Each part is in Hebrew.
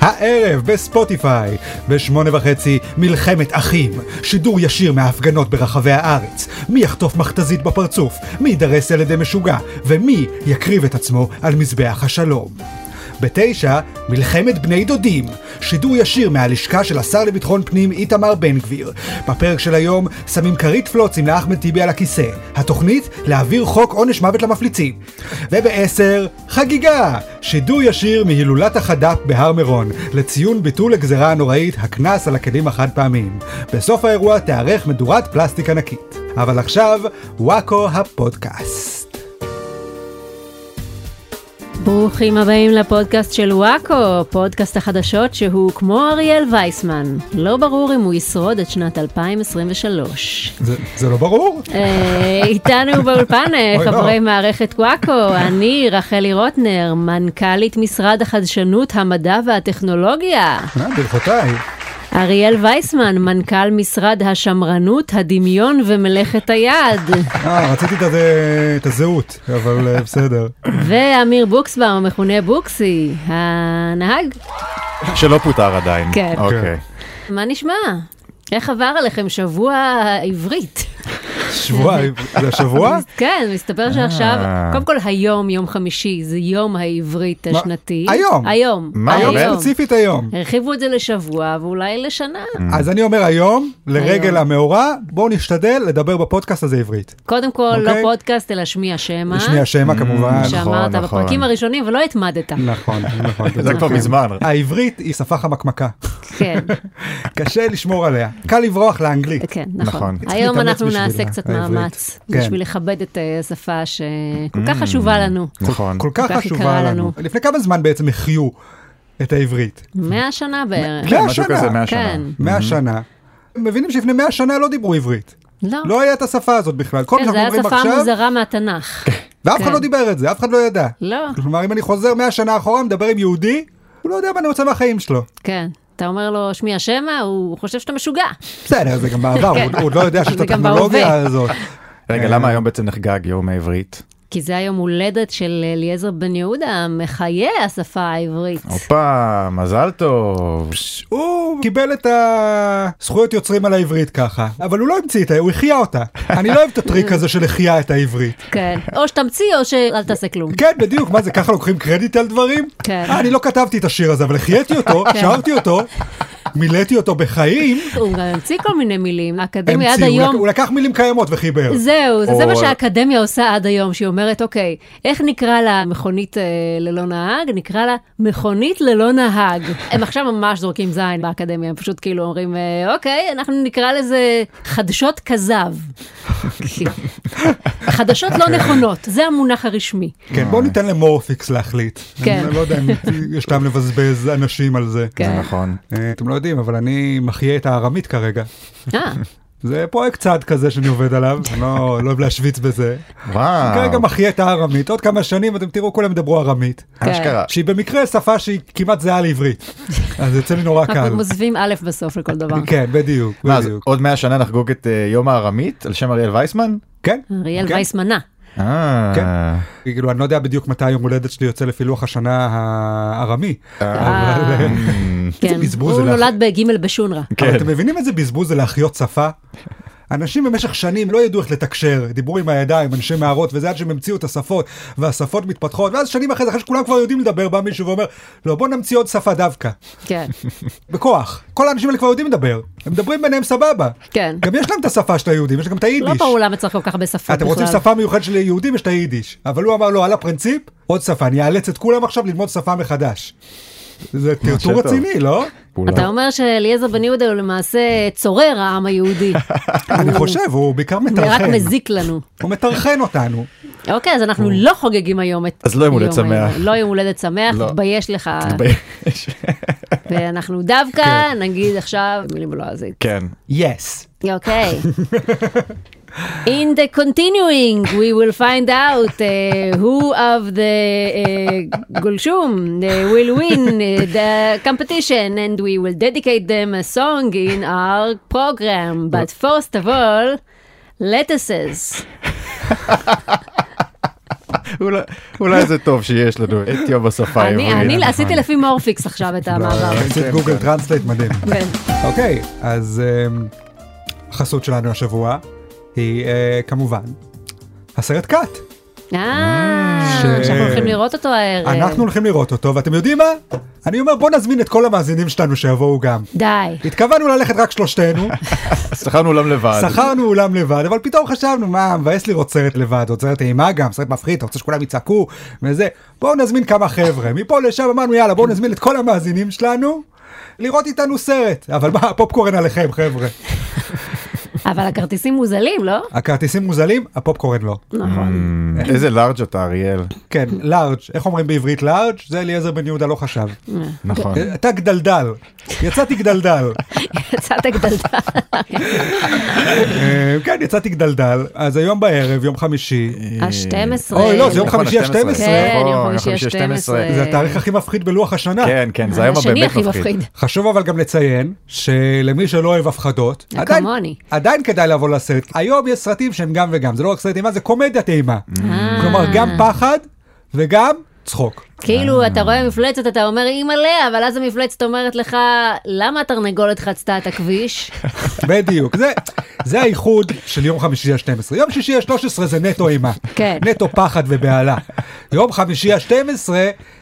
הערב בספוטיפיי, בשמונה וחצי מלחמת אחים, שידור ישיר מההפגנות ברחבי הארץ, מי יחטוף מכתזית בפרצוף, מי יידרס על ידי משוגע, ומי יקריב את עצמו על מזבח השלום. בתשע, מלחמת בני דודים, שידור ישיר מהלשכה של השר לביטחון פנים איתמר בן גביר. בפרק של היום שמים כרית פלוצים לאחמד טיבי על הכיסא. התוכנית, להעביר חוק עונש מוות למפליצים. ובעשר, חגיגה! שידור ישיר מהילולת החד"פ בהר מירון, לציון ביטול הגזרה הנוראית, הקנס על הכלים החד פעמיים. בסוף האירוע תיערך מדורת פלסטיק ענקית. אבל עכשיו, וואקו הפודקאסט. ברוכים הבאים לפודקאסט של וואקו, פודקאסט החדשות שהוא כמו אריאל וייסמן. לא ברור אם הוא ישרוד את שנת 2023. זה, זה לא ברור? אה, איתנו באולפן אה, אוי, לא. חברי מערכת וואקו, אני רחלי רוטנר, מנכ"לית משרד החדשנות, המדע והטכנולוגיה. אה, ברכותיי. אריאל וייסמן, מנכ"ל משרד השמרנות, הדמיון ומלאכת היד. אה, רציתי את הזה- את הזהות, אבל אה, בסדר. ואמיר בוקסבאום, המכונה בוקסי, הנהג. שלא פוטר עדיין. כן. אוקיי. מה נשמע? איך עבר עליכם שבוע עברית? שבועיים, זה השבוע? כן, מסתבר שעכשיו, אה. קודם כל היום, יום חמישי, זה יום העברית מה? השנתי. היום? היום. לא. מה, היום באמת? ספציפית היום. הרחיבו את זה לשבוע ואולי לשנה. Mm. אז אני אומר היום, לרגל היום. המאורע, בואו נשתדל לדבר בפודקאסט הזה עברית. קודם כל, לא אוקיי. פודקאסט, אלא שמיע שמע. שמי השמע כמובן. שם. שאמרת נכון, נכון. בפרקים הראשונים ולא התמדת. נכון, נכון. זה כבר אוקיי. מזמן. העברית היא שפה חמקמקה, כן, קשה לשמור עליה, קל לברוח לאנגלית. כן, נכון. נכון. צריך היום להתאמץ אנחנו בשביל נעשה קצת העברית. מאמץ כן. Mm. בשביל לכבד את אה, השפה שכל כך חשובה לנו. נכון. כל כך כך חשובה יקרה לנו. לנו. לפני כמה זמן בעצם החיו את העברית? 100 שנה בערך. כן. מאה משהו שנה. כזה, מאה שנה. כן. 100 שנה. מבינים שלפני 100 שנה לא דיברו עברית. לא. לא היה את השפה הזאת בכלל. כל מה כן, זו שאנחנו הייתה אומרים שפה עכשיו, מוזרה מהתנ"ך. ואף אחד כן. לא דיבר את זה, אף אחד לא ידע. לא, כלומר, אם אני חוזר 100 שנה אחורה, מדבר עם יהודי, הוא לא יודע מה אני רוצה מהחיים שלו. כן. אתה אומר לו, שמי השמע, הוא חושב שאתה משוגע. בסדר, זה גם בעבר, הוא- הוא עוד לא יודע שיש את כן. זה גם הטכנולוגיה בהווה. הזאת. רגע, כן. למה היום בעצם נחגג יום העברית? כי זה היום הולדת של אליעזר בן יהודה, מחיי השפה העברית. אוקיי. הופה, מזל טוב. הוא קיבל את הזכויות יוצרים על העברית ככה, אבל הוא לא המציא את ה... הוא החיה אותה. אני לא אוהב את הטריק הזה של החייה את העברית. כן. או שתמציא או שאל תעשה כלום. כן, בדיוק, מה זה, ככה לוקחים קרדיט על דברים? כן. אה, אני לא כתבתי את השיר הזה, אבל החייתי אותו, כן. שרתי אותו, מילאתי אותו בחיים. הוא גם המציא כל מיני מילים. האקדמיה עד המציא, הוא לק- היום... הוא לקח מילים קיימות וחיבר. זהו, זה זה או- מה שהאקדמיה עושה עד היום, שהיא אומרת, אוקיי, איך נקרא לה מכונית אה, ללא נהג? נקרא לה מכונית ללא נהג. הם עכשיו ממש זורקים זין באקדמיה, הם פשוט כאילו אומרים, אה, אוקיי, אנחנו נקרא לזה חדשות כזב. אוקיי. חדשות לא נכונות, זה המונח הרשמי. כן, בואו ניתן למורפיקס להחליט. כן. אני לא יודע אם יש טעם לבזבז אנשים על זה. כן. זה נכון. אה, אתם לא יודעים, אבל אני מחיה את הארמית כרגע. אה, זה פרויקט צעד כזה שאני עובד עליו, אני לא לא אוהב להשוויץ בזה. כן. כרגע וואו. מחיה את הארמית, עוד כמה שנים אתם תראו כולם ידברו ארמית. כן. אשכרה. שהיא במקרה שפה שהיא כמעט זהה לעברית. אז יוצא לי נורא קל. אנחנו עוזבים א' בסוף לכל דבר. כן, בדיוק, מה, אז בדיוק. עוד מאה שנה נחגוג את אה, יום הארמית על שם אריאל וייסמן? כן, אריאל כן. וייסמנה. אה. כן. כאילו, אני לא יודע בדיוק מתי היום הולדת שלי יוצא לפי לוח השנה הארמי. אה, כן, בזבוז הוא זה לך. נולד בג' בשונרה. אבל כן. אתם מבינים איזה בזבוז זה להחיות שפה? אנשים במשך שנים לא ידעו איך לתקשר, דיברו עם הידיים, אנשי מערות, וזה עד שהם המציאו את השפות, והשפות מתפתחות, ואז שנים אחרי זה, אחרי שכולם כבר יודעים לדבר, בא מישהו ואומר, לא, בוא נמציא עוד שפה דווקא, כן, בכוח. כל האנשים האלה כבר יודעים לדבר, הם מדברים ביניהם סבבה. כן. גם יש להם את השפה של היהודים, יש גם את לא היידיש. ברור למה צריך כל כך הרבה שפות בכלל. אתם רוצים שפה מיוחדת של יהודים, יש את היידיש. אבל הוא אמר לו, על הפרינציפ, עוד שפה, אני אאלץ את כולם עכשיו ללמוד שפה מחדש. זה טרטור טוב. רציני, לא? אתה אומר שאליעזר בן יהודה הוא למעשה צורר העם היהודי. אני חושב, הוא בעיקר הוא רק מטרחן. כן. מזיק לנו. הוא מטרחן אותנו. אוקיי, אז אנחנו לא חוגגים היום את... אז לא יום הולדת יום שמח. העברית. לא יום הולדת שמח, לא. תתבייש לך. מתבייש. ואנחנו דווקא נגיד עכשיו לא, מילים בלועזית. כן. יס. אוקיי. In the continuing, we will find out uh, who of the uh, Gulshum uh, will win uh, the competition, and we will dedicate them a song in our program. But first of all, lettuces. אולי- אולי זה טוב שיש לנו את יום השפה אני- העברית. אני עשיתי לפי מורפיקס עכשיו את המעבר. עשית כן, גוגל כן. טרנסלייט מדהים. כן. אוקיי, אז אמ, החסות שלנו השבוע היא אה, כמובן הסרט קאט. אה, ש- שאנחנו הולכים לראות אותו הערב. אנחנו הולכים לראות אותו, ואתם יודעים מה? אני אומר בוא נזמין את כל המאזינים שלנו שיבואו גם. די. התכוונו ללכת רק שלושתנו, שכרנו אולם לבד. שכרנו אולם לבד, אבל פתאום חשבנו, מה, מבאס לראות סרט לבד, עוד סרט אימה גם, סרט מפחיד, אתה רוצה שכולם יצעקו וזה. בואו נזמין כמה חבר'ה, מפה לשם אמרנו, יאללה, בואו נזמין את כל המאזינים שלנו לראות איתנו סרט. אבל מה, הפופקורן עליכם, חבר'ה. אבל הכרטיסים מוזלים, לא? הכרטיסים מוזלים, הפופקורן לא. נכון. אמ, איזה לארג' אתה אריאל. כן, לארג', איך אומרים בעברית לארג'? זה אליעזר בן יהודה לא חשב. נכון. אתה גדלדל, יצאתי גדלדל. יצאת גדלתה. אה, כן, יצאתי גדלדל, אז היום בערב, יום חמישי, ה-12. אוי, לא, זה יום נכון, חמישי ה- 12. כן, נכון, יום חמישי ה- זה התאריך הכי מפחיד בלוח השנה. כן, כן, זה היום השני הבאמת הכי מפחיד. מפחיד. חשוב אבל גם לציין שלמי שלא אוהב הפחדות, אה, עדיין- כמוני. עדיין כדאי לבוא לסרט. היום יש סרטים שהם גם וגם, זה לא רק סרט אימה, זה קומדיית אימה. אה. כלומר, גם פחד וגם צחוק. אה. כאילו, אתה רואה מפלצת, אתה אומר, אימא'לה, אבל אז המפלצת אומרת לך, למה התרנגולת חצתה את הכביש? בדיוק, זה, זה האיחוד של יום חמישי ה-12. יום שישי ה-13 זה נטו אימה. כן. נטו פחד ובהלה. יום חמישי ה-12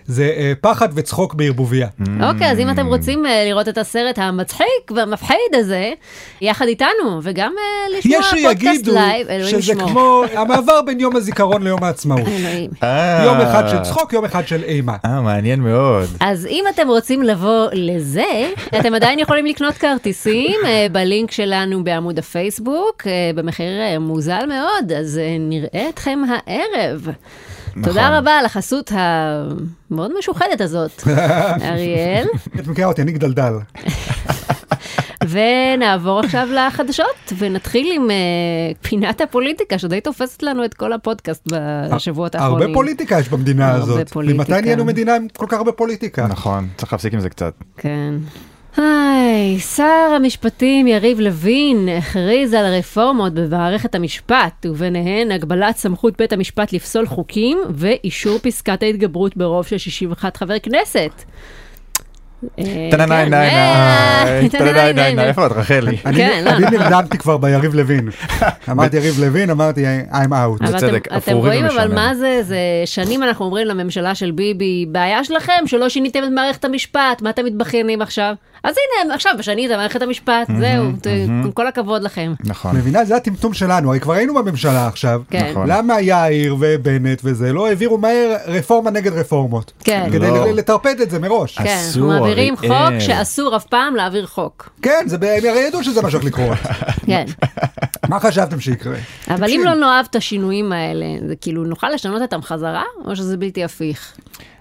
זה אה, פחד וצחוק בערבוביה. אוקיי, אז אם Mm. אתם רוצים אה, לראות את הסרט המצחיק והמפחיד הזה, יחד איתנו, וגם אה, לשמוע יש פודקאסט שיגידו לייב, אלוהים שזה ישמור. כמו המעבר בין יום הזיכרון ליום העצמאות. אלוהים. אה. יום אחד של צחוק, יום אחד של אימה. אה, מעניין מאוד. אז אם אתם רוצים לבוא לזה, אתם עדיין יכולים לקנות כרטיסים אה, בלינק שלנו בעמוד הפייסבוק, אה, במחיר אה, מוזל מאוד, אז אה, נראה אתכם הערב. נכון. תודה רבה על החסות המאוד משוחדת הזאת, אריאל. את מכירה אותי, אני גדלדל. ונעבור עכשיו לחדשות, ונתחיל עם אה, פינת הפוליטיקה, שדי תופסת לנו את כל הפודקאסט בשבועות האחרונים. הרבה פוליטיקה יש במדינה הרבה הזאת. פוליטיקה. ממתי נהיינו מדינה עם כל כך הרבה פוליטיקה? נכון, צריך להפסיק עם זה קצת. כן. היי, שר המשפטים יריב לוין הכריז על רפורמות במערכת המשפט, וביניהן הגבלת סמכות בית המשפט לפסול חוקים ואישור פסקת ההתגברות ברוב של 61 חברי כנסת. אה, טננאי כן, נאי אה, נאי, טננאי נאי נאי, טננאי. איפה את רחלי? אני כן, לא. אני נרדמתי כבר ביריב לוין. אמרתי יריב לוין, אמרתי I'm out. אבל אתם- בצדק, אתם אפורי רואים אבל ומשעמם. מה זה, זה שנים אנחנו אומרים לממשלה של ביבי, בעיה שלכם שלא שיניתם את מערכת המשפט, מה אתם מתבכיינים עכשיו? אז הנה, הם עכשיו שיניתם את מערכת המשפט, זהו, ת- כל הכבוד לכם. נכון. מבינה? זה הטמטום שלנו, הרי כבר היינו בממשלה עכשיו. כן. נכון. למה יאיר ובנט וזה לא העבירו מהר רפורמה נגד רפורמות? כן. כדי לא. אה. ל- לטרפד את זה מראש. כן, אנחנו אסור, מעבירים חוק אריאל. שאסור אף פעם להעביר חוק. כן, זה ב- הם הרי ידעו שזה מה שהולך לקרות. כן. מה חשבתם שיקרה? אבל אם לא נאהב את השינויים האלה, זה כאילו, נוכל לשנות אותם חזרה, או שזה בלתי הפיך?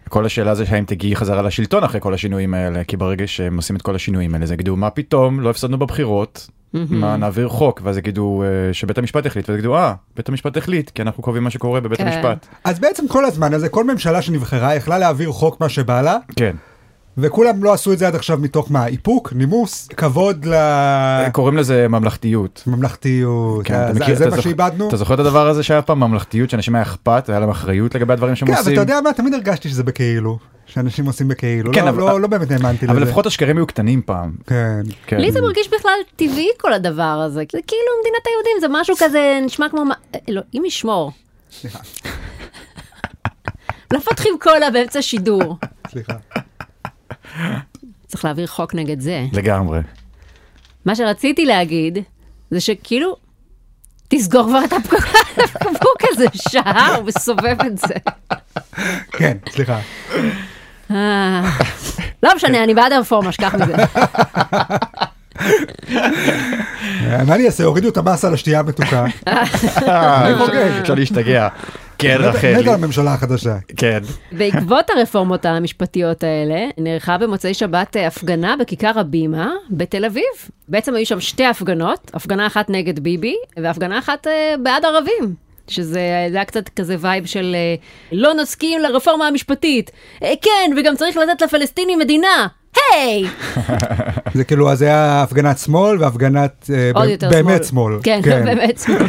כל השאלה זה האם תגיעי חזרה לשלטון אחרי כל השינויים האלה, כי ברגע שהם עושים את כל השינויים האלה, אז יגידו, מה פתאום, לא הפסדנו בבחירות, Mhm. מה, נעביר חוק, ואז יגידו אה, שבית המשפט החליט, ואז יגידו, אה, בית המשפט החליט, כי אנחנו קובעים מה שקורה בבית כן. המשפט. אז בעצם כל הזמן הזה, כל ממשלה שנבחרה יכלה להעביר חוק מה שבא לה, כן. וכולם לא עשו את זה עד עכשיו מתוך מה? איפוק? נימוס? כבוד אה, קוראים לזה ממלכתיות. לממלכתיות? כן, אתה אז- מכיר- אז אה, זה אתה מה זוכ- שאיבדנו? אתה זוכר את הדבר הזה שהיה פעם ממלכתיות, שאנשים היה אכפת, היה להם אחריות לגבי הדברים שהם כן, אבל עושים? אתה יודע מה? תמיד הרגשתי שזה בכאילו. שאנשים עושים בכאילו. כן, לא- אבל- לא- לא באמת האמנתי לזה. אבל לפחות השקרים היו קטנים פעם. כן. כן. לי זה מרגיש בכלל טבעי כל הדבר הזה. זה כאילו מדינת היהודים, זה משהו כזה, נשמע כמו... מה- אלוהים ישמור. סליחה, לא פותחים קולה באמצע שידור. סליחה. צריך להעביר חוק נגד זה. לגמרי. מה שרציתי להגיד, זה שכאילו, תסגור כבר את הפקבוק הזה שעה, הוא מסובב את זה. כן, סליחה. אה, לא משנה, אני בעד הרפורמה, שכח מזה. אה, מה אני אעשה? הורידו את המס על השתייה המתוקה. אה, אפשר- אוקיי. אפשר להשתגע. כן, רחלי. מת על הממשלה החדשה. כן. בעקבות הרפורמות המשפטיות האלה, נערכה במוצאי שבת אה, הפגנה בכיכר הבימה בתל אביב. בעצם היו שם שתי הפגנות, הפגנה אחת נגד ביבי, והפגנה אחת אה, בעד ערבים. שזה אה, זה היה קצת כזה וייב של אה, לא נסכים לרפורמה המשפטית. אה, כן, וגם צריך לתת לפלסטינים מדינה. היי, היי! זה כאילו, אז זה היה הפגנת שמאל והפגנת אה, עוד ב- יותר שמאל. באמת שמאל. כן, באמת שמאל.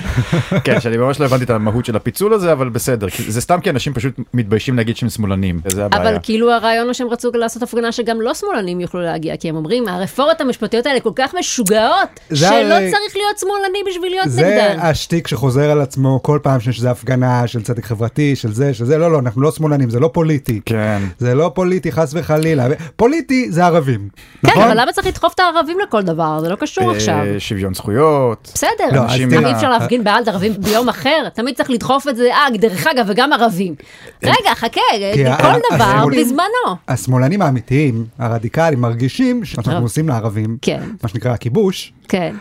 כן, שאני ממש לא הבנתי את המהות של הפיצול הזה, אבל בסדר. כי זה סתם כי אנשים פשוט מתביישים להגיד שהם שמאלנים, זה לא הבעיה. אבל כאילו הרעיון הוא שהם רצו לעשות הפגנה שגם לא שמאלנים יוכלו להגיע, כי הם אומרים, הרפורמות המשפטיות האלה כל כך משוגעות, זה שלא הרי- צריך להיות שמאלני בשביל להיות זה נגדן. השטיק שחוזר על עצמו כל פעם שיש איזו הפגנה של צדק חברתי, של זה, של זה, לא, לא, אנחנו לא שמאלנים, זה לא פוליטי. כן. זה לא פוליטי חס וחלילה, פוליטי זה ערבים, כן, נכון? אבל למה צריך לדחוף את הערבים לכל דבר? זה לא קשור עכשיו. אה, שוויון זכויות. בסדר, לא, אז אז אי תראה- אפשר להפגין בעד ערבים ביום אחר, תמיד צריך לדחוף את זה, אה, דרך אגב, וגם ערבים. רגע, חכה, כן. כי ה- כל ה- דבר השמאל- בזמנו. השמאלנים האמיתיים, הרדיקלים, מרגישים טוב. שאנחנו עושים לערבים, נכון. כן. מה שנקרא הכיבוש, כן.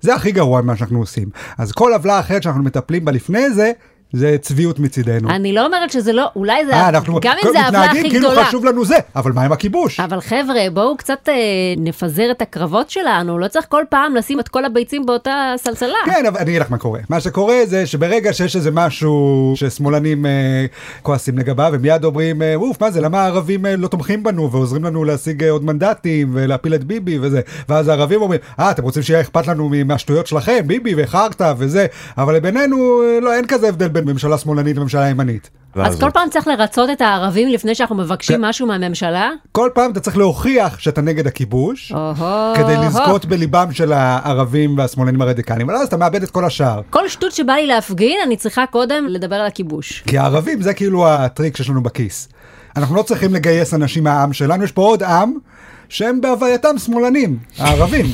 זה הכי גרוע ממה שאנחנו עושים. אז כל עוולה אחרת שאנחנו מטפלים בה לפני זה, זה צביעות מצידנו. אני לא אומרת שזה לא, אולי זה, אה, אנחנו גם אם זה העוולה הכי מתנהגים כאילו גדולה. חשוב לנו זה, אבל מה עם הכיבוש? אבל חבר'ה, בואו קצת אה, נפזר את הקרבות שלנו, לא צריך כל פעם לשים את כל הביצים באותה סלסלה. כן, אבל אני אגיד לך מה קורה. מה שקורה זה שברגע שיש איזה משהו ששמאלנים אה, כועסים לגביו, הם מיד אומרים, אה, אוף, מה זה, למה הערבים אה, לא תומכים בנו ועוזרים לנו להשיג אה, עוד מנדטים ולהפיל את ביבי וזה. ואז הערבים אומרים, אה, אתם רוצים שיהיה אכפת לנו מ- מהשטויות שלכם, ביבי וחרטא וזה, אבל בינינו, אה, לא, אין כזה הבדל בין ממשלה שמאלנית לממשלה ימנית. אז כל פעם צריך לרצות את הערבים לפני שאנחנו מבקשים כן. משהו מהממשלה? כל פעם אתה צריך להוכיח שאתה נגד הכיבוש. אוהו. כדי לזכות בליבם של הערבים והשמאלנים הרדיקליים, אבל אז אתה מאבד את כל השאר. כל שטות שבא לי להפגין, אני צריכה קודם לדבר על הכיבוש. כי הערבים זה כאילו הטריק שיש לנו בכיס. אנחנו לא צריכים לגייס אנשים מהעם שלנו, יש פה עוד עם שהם בהווייתם שמאלנים, הערבים.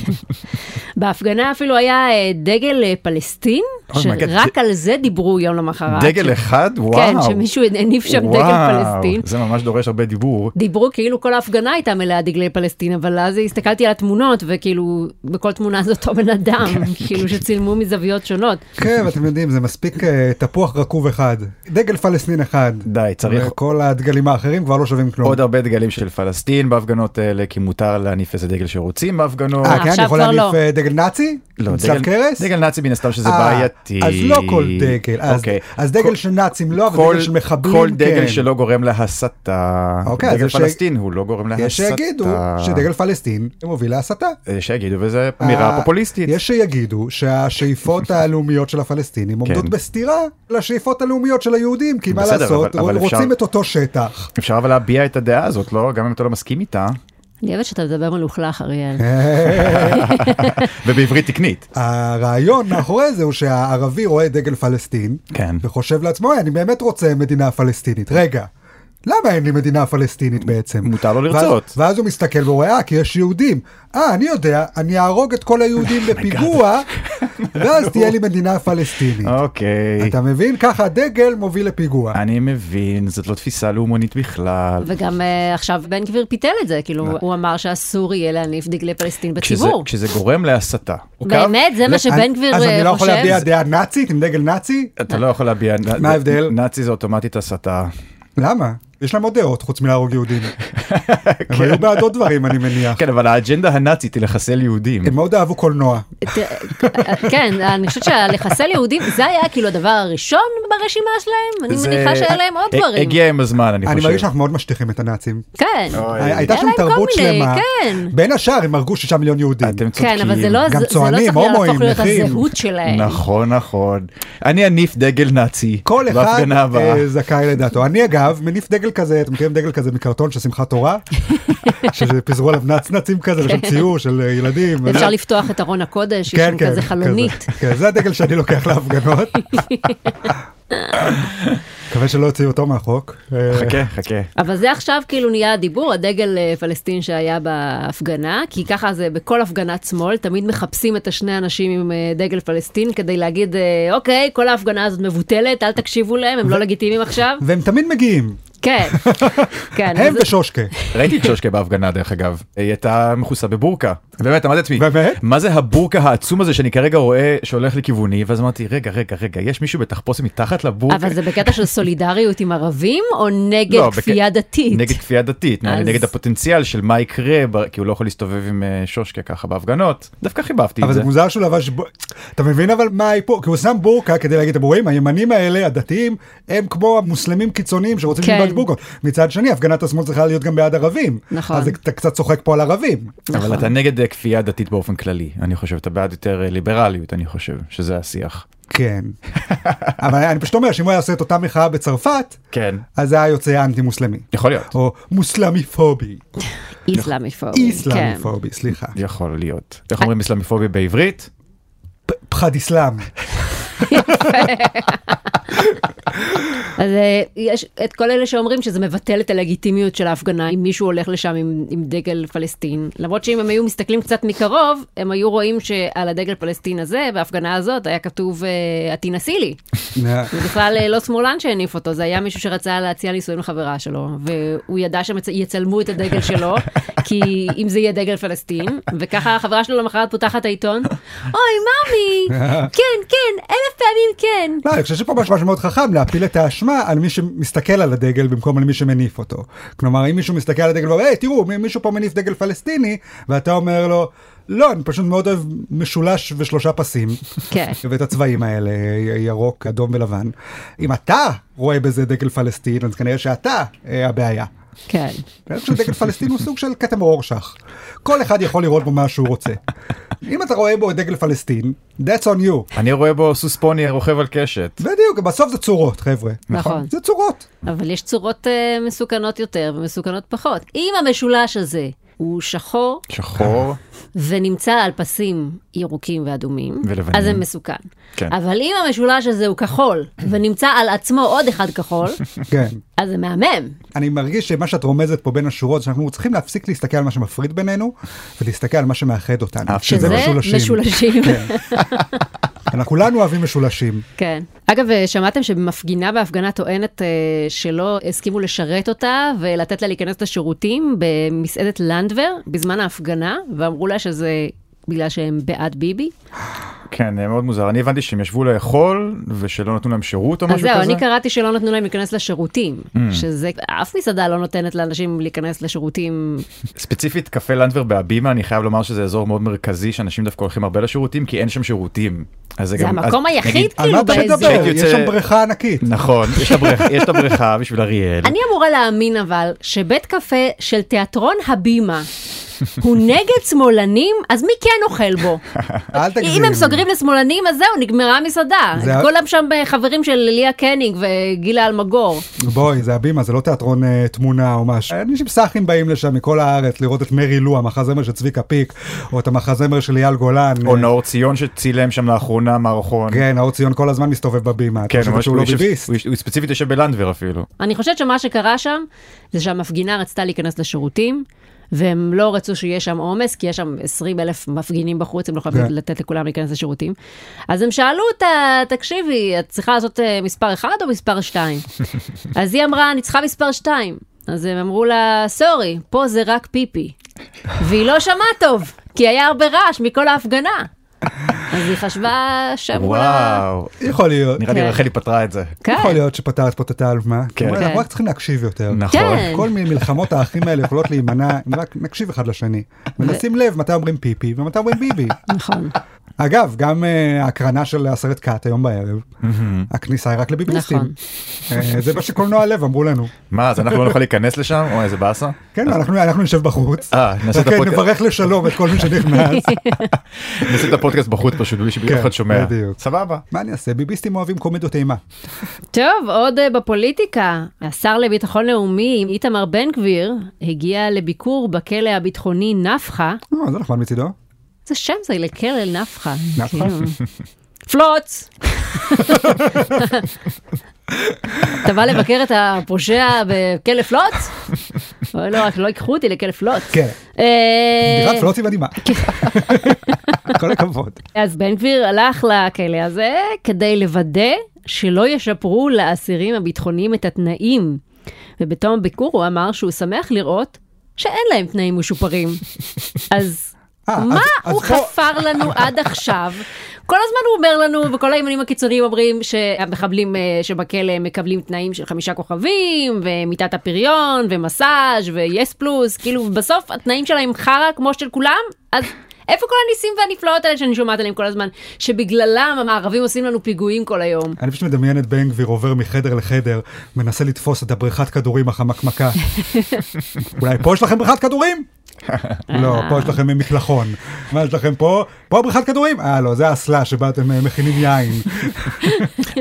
בהפגנה אפילו היה אה, דגל אה, פלסטין, Oh my God, שרק זה- על זה דיברו יום למחרת. דגל אחד? וואו. כן, שמישהו הניף שם דגל וואו, פלסטין. זה ממש דורש הרבה דיבור. דיברו כאילו כל ההפגנה הייתה מלאה דגלי פלסטין, אבל אז הסתכלתי על התמונות, וכאילו, בכל תמונה זה אותו בן אדם, כאילו שצילמו מזוויות שונות. כן, אבל אתם יודעים, זה מספיק אה, תפוח רקוב אחד, דגל פלסטין אחד. די, צריך וכל הדגלים האחרים כבר לא שווים כלום. עוד הרבה דגלים של פלסטין בהפגנות האלה, כי מותר להניף איזה דגל שרוצים בהפגנות. אה, כן, עכשיו אני יכול כבר להניף לא. אה, דגל נאצי? לא, עם צלב דגל- קרס? דגל נאצי מן הסתם שזה אה, בעייתי. אז לא כל דגל, אז- אוקיי. אז דגל כל- של נאצים לא, אבל כל- דגל של מחבלים כן. כל דגל שלא גורם להסתה, אוקיי, אז דגל יש- פלסטין הוא לא גורם להסתה. יש שיגידו שדגל פלסטין מוביל להסתה. אה, שיגידו, וזו אמירה ה- פופוליסטית. אה, יש שיגידו שהשאיפות הלאומיות של הפלסטינים עומדות בסתירה לשאיפות הלאומיות של היהודים, כי מה כן. בסדר, לעשות, אבל- אבל אפשר- רוצים את אותו שטח. אפשר אבל להביע את הדעה הזאת, לא? גם אם אתה לא מסכים איתה, אני אוהבת שאתה מדבר מלוכלך, אריאל. כן. ובעברית תקנית. הרעיון מאחורי זה הוא שהערבי רואה דגל פלסטין, כן. וחושב לעצמו, "היי, אני באמת רוצה מדינה פלסטינית. רגע. למה אין לי מדינה פלסטינית בעצם? מותר לו ואז- לרצות. ואז הוא מסתכל ורואה, אה, כי יש יהודים. אה, אני יודע, אני אהרוג את כל היהודים בפיגוע, ואז תהיה לי מדינה פלסטינית. אוקיי. אה, אתה מבין? ככה דגל מוביל לפיגוע. אני מבין, זאת לא תפיסה לאומנית בכלל. וגם אה, עכשיו בן גביר פיתל את זה, כאילו, הוא אמר שאסור יהיה להניף דגלי פלסטין כשזה- בציבור. כשזה גורם להסתה. אוקיי? באמת, זה מה שבן אני- גביר אז אני לא אה, יכול חושב? להביע דעה נאצית עם דגל נאצי? אתה לא יכול להביע... מה ההבדל? נאצי זה אוטומטית הסתה. למה? יש להם עוד דעות חוץ מלהרוג יהודים. הם היו בעד עוד דברים, אני מניח. כן, אבל האג'נדה הנאצית היא לחסל יהודים. הם מאוד אהבו קולנוע. תראה, אה, כן, אני חושבת שלחסל יהודים, זה היה כאילו הדבר הראשון ברשימה שלהם, אני זה- מניחה שהיה להם עוד אה, ה- דברים. הגיע עם הזמן, אני אני חושב. מרגיש שאנחנו מאוד משטיחים את הנאצים. כן. אוי. הי- הייתה היה שם להם כל תרבות מיני, שלמה. כן. בין השאר הם הרגו שישה מיליון יהודים. אתם צודקים. כן, אבל זה לא, כאילו- גם זה, זה לא צוענים, צריך היה הומואים, להפוך להיות נכים. הזהות שלהם. נכון, נכון. אני אניף דגל נאצי. כל לא אחד בהפגנה הבאה. אה, זכאי לדעתו. אני אגב מניף דגל כזה, אתם מכירים דגל כזה מקרטון של שמחת תורה? שפיזרו עליו נצנצים כזה ושל ציור של אה, ילדים. אפשר לפתוח את ארון הקודש, יש כן, שם כן, כזה חלונית. כזה. כן, זה הדגל שאני לוקח להפגנות. מקווה שלא יוציאו אותו מהחוק. אה, חכה, חכה. אבל זה עכשיו כאילו נהיה הדיבור, הדגל אה, פלסטין שהיה בהפגנה, כי ככה זה בכל הפגנת שמאל, תמיד מחפשים את השני אנשים עם אה, דגל פלסטין כדי להגיד, אה, אוקיי, כל ההפגנה הזאת מבוטלת, אל תקשיבו להם, הם לא לגיטימיים עכשיו. והם תמיד מגיעים, כן, כן. הם אז- ושושקה. ראיתי את שושקה בהפגנה דרך אגב, היא הייתה מכוסה בבורקה. באמת, אמרתי לעצמי, באמת? מה זה הבורקה העצום הזה שאני כרגע רואה שהולך לכיווני, ואז אמרתי, רגע, רגע, רגע, יש מישהו בתחפושת מתחת לבורקה? אבל זה בקטע של סולידריות עם ערבים, או לא, נגד בק- כפייה דתית? נגד כפייה דתית, נראה לי, אז- נגד הפוטנציאל של מה יקרה, ב- כי הוא לא יכול להסתובב עם אה, שושקה ככה בהפגנות. דווקא חיבבתי אבל את זה זה. מוזר שהוא לבש... ב- אתה מבין אבל מה היפור? כי הוא שם בורקה כדי להגיד, אתם רואים, הימנים האלה, הדתיים, הם כמו המוסלמים קיצוניים שרוצים כן, ללמוד את בורגות. מצד שני, הפגנת השמאל צריכה להיות גם בעד ערבים. נכון. אז אתה קצת צוחק פה על ערבים. אבל אתה נגד אה, כפייה דתית באופן כללי, אני חושב, אתה בעד יותר אה, ליברליות, אני חושב, שזה השיח. כן. אבל אני פשוט אומר שאם הוא היה עושה את אותה מחאה בצרפת, כן. אז זה היה יוצא אנטי מוסלמי. יכול להיות. או מוסלמיפובי. נכון. איסלאמיפובי. כן. איסלאמיפובי, סליחה. יכול להיות. איך אה. אומרים אסלאמיפוביה בעברית? פ- פחד איסלאם. אז אה, יש את כל אלה שאומרים שזה מבטל את הלגיטימיות של ההפגנה אם מישהו הולך לשם עם, עם דגל פלסטין. למרות שאם הם היו מסתכלים קצת מקרוב, הם היו רואים שעל הדגל פלסטין הזה, בהפגנה הזאת, היה כתוב אה, עטינה סילי. זה בכלל אה, לא שמאלן שהניף אותו, זה היה מישהו שרצה להציע נישואים לחברה שלו, והוא ידע שיצלמו את הדגל שלו, כי אם זה יהיה דגל פלסטין, וככה החברה שלו למחרת פותחת העיתון, אוי, ממי, כן, כן, אלף פעמים כן. לא, אני חושב שפה משהו משהו מאוד חכם להפיל את האשמה על מי שמסתכל על הדגל במקום על מי שמניף אותו. כלומר, אם מישהו מסתכל על הדגל ואומר, היי, תראו, מי- מישהו פה מניף דגל פלסטיני, ואתה אומר לו, לא, אני פשוט מאוד אוהב משולש ושלושה פסים. כן. ואת הצבעים האלה, י- ירוק, אדום ולבן. אם אתה רואה בזה דגל פלסטין, אז כנראה שאתה אה, הבעיה. כן. אני חושב שדגל פלסטין הוא סוג של כתם אורשך. כל אחד יכול לראות בו מה שהוא רוצה. אם אתה רואה בו את דגל פלסטין, that's on you. אני רואה בו סוס פוני רוכב על קשת. בדיוק, בסוף זה צורות, חבר'ה. נכון. זה צורות. אבל יש צורות אה, מסוכנות יותר ומסוכנות פחות. אם המשולש הזה הוא שחור שחור. אה. ונמצא על פסים ירוקים ואדומים, ולבנים. אז זה מסוכן. כן. אבל אם המשולש הזה הוא כחול ונמצא על עצמו עוד אחד כחול, כן. אז זה מהמם. אני מרגיש שמה שאת רומזת פה בין השורות, שאנחנו צריכים להפסיק להסתכל על מה שמפריד בינינו, ולהסתכל על מה שמאחד אותנו. אף שזה שזה משולשים. משולשים. אנחנו כולנו אוהבים משולשים. כן. אגב, אה, שמעתם שמפגינה בהפגנה טוענת אה, שלא הסכימו לשרת אותה ולתת לה להיכנס לשירותים במסעדת לנדבר בזמן ההפגנה, ואמרו לה שזה בגלל שהם בעד ביבי? כן, אה, מאוד מוזר. אני הבנתי שהם ישבו לאכול ושלא נתנו להם שירות או משהו אז כזה. זהו, אני קראתי שלא נתנו להם להיכנס לשירותים, Mm. שזה, אף מסעדה לא נותנת לאנשים להיכנס לשירותים. ספציפית קפה לנדבר בהבימה אני חייב לומר שזה אזור מאוד מרכזי שאנשים דווקא הולכים הרבה לשירותים כי אין שם שירותים. אז זה גם- אז המקום נגיד- היחיד על כאילו מה אתה מדבר? באזור. כשהייתי יש יוצא- שם בריכה ענקית. נכון, יש את הבריכה- יש את הבריכה בשביל אריאל. אני אמורה להאמין אבל שבית קפה של תיאטרון הבימה הוא נגד שמאלנים, אז מי כן אוכל בו? אל תגזים. אה, אם הם סוגרים לשמאלנים, אז זהו, נגמרה המסעדה. זה ה- כולם שם חברים של ליה קנינג וגילה אלמגור. בואי, זה הבימה, זה לא תיאטרון אה, תמונה או משהו. אנשים סאחים באים לשם מכל הארץ לראות את מרי לו, המחזמר של צביקה פיק, או את המחזמר של אייל גולן. או נאור ציון שצילם שם לאחרונה מערכון. כן, האור ציון כל הזמן מסתובב בבימה. כן, אתה חושב ממש, שהוא לא הוא יושב- ביביסט? הוא יש- הוא ספציפית יושב בלנדבר אפילו. אני חושבת שמה שקרה שם, זה שהמפגינה רצתה להיכנס לשירותים, והם לא רצו שיהיה שם עומס, כי יש שם 20 אלף מפגינים בחוץ, הם לא יכולים כן. לתת לכולם להיכנס לשירותים. אז הם שאלו אותה, תקשיבי, את צריכה לעשות אה, מספר 1 או מספר 2? אז היא אמרה, אני צריכה מספר 2. אז הם אמרו לה, סורי, פה זה רק פיפי. והיא לא שמעה טוב, כי היה הרבה רעש מכל ההפגנה. אז היא חשבה שאמרו לה... וואו, יכול להיות. נראה לי כן. רחלי פתרה את זה. כן. יכול להיות שפתרת פה את התעלמה. כן. כלומר, כן. אנחנו רק צריכים להקשיב יותר. נכון. כן. כל מיני מלחמות האחים האלה יכולות להימנע אם רק נקשיב אחד לשני. ונשים לב מתי אומרים פיפי ומתי אומרים ביבי. נכון. אגב, גם אה, ההקרנה של הסרט קאט היום בערב, הכניסה היא רק לביביסטים. נכון. אה, זה מה שקולנוע לב אמרו לנו. מה, אז אנחנו לא נוכל להיכנס לשם? אוי, איזה באסה. כן, אנחנו אנחנו נשב בחוץ. אה, נעשה את וכן, הפודקאסט. נברך לשלום את כל מי שנכנס. נעשה את הפודקאסט בחוץ פשוט בלי כן, שאף אחד שומע. בדיוק. סבבה. מה אני אעשה? ביביסטים אוהבים קומדיות אימה. טוב, עוד אה, בפוליטיקה. השר לביטחון לאומי, איתמר בן גביר, הגיע לביקור בכלא הביטחוני נפחא. אה, זה נחמד מצידו. זה שם זה לכלא נפחא. נפחא? כאילו. פלוץ! אתה בא לבקר את הפושע בכלא פלוץ? אוי, לא, רק לא ייקחו אותי לכלא פלוץ. כן. אה, כן. דירת פלוצי מדהימה. כל הכבוד. אז בן גביר הלך לכלא הזה כדי לוודא שלא ישפרו לאסירים הביטחוניים את התנאים. ובתום הביקור הוא אמר שהוא שמח לראות שאין להם תנאים משופרים. אז... אה, אז- מה אז הוא פה- חפר לנו עד עכשיו? כל הזמן הוא אומר לנו, וכל הימנים הקיצוניים אומרים שהמחבלים אה, שבכלא מקבלים תנאים של חמישה כוכבים, ומיטת הפריון, ומסאז' ויס פלוס, כאילו בסוף התנאים שלהם חרא כמו של כולם, אז איפה כל הניסים והנפלאות האלה שאני שומעת עליהם כל הזמן, שבגללם המערבים עושים לנו פיגועים כל היום? אני פשוט מדמיין את בן גביר עובר מחדר לחדר, מנסה לתפוס את הבריכת כדורים החמקמקה. אולי פה יש לכם בריכת כדורים? לא, פה יש לכם מקלחון. מה יש לכם פה? פה בריכת כדורים? אה, לא, זה האסלה שבה אתם אה, מכינים יין.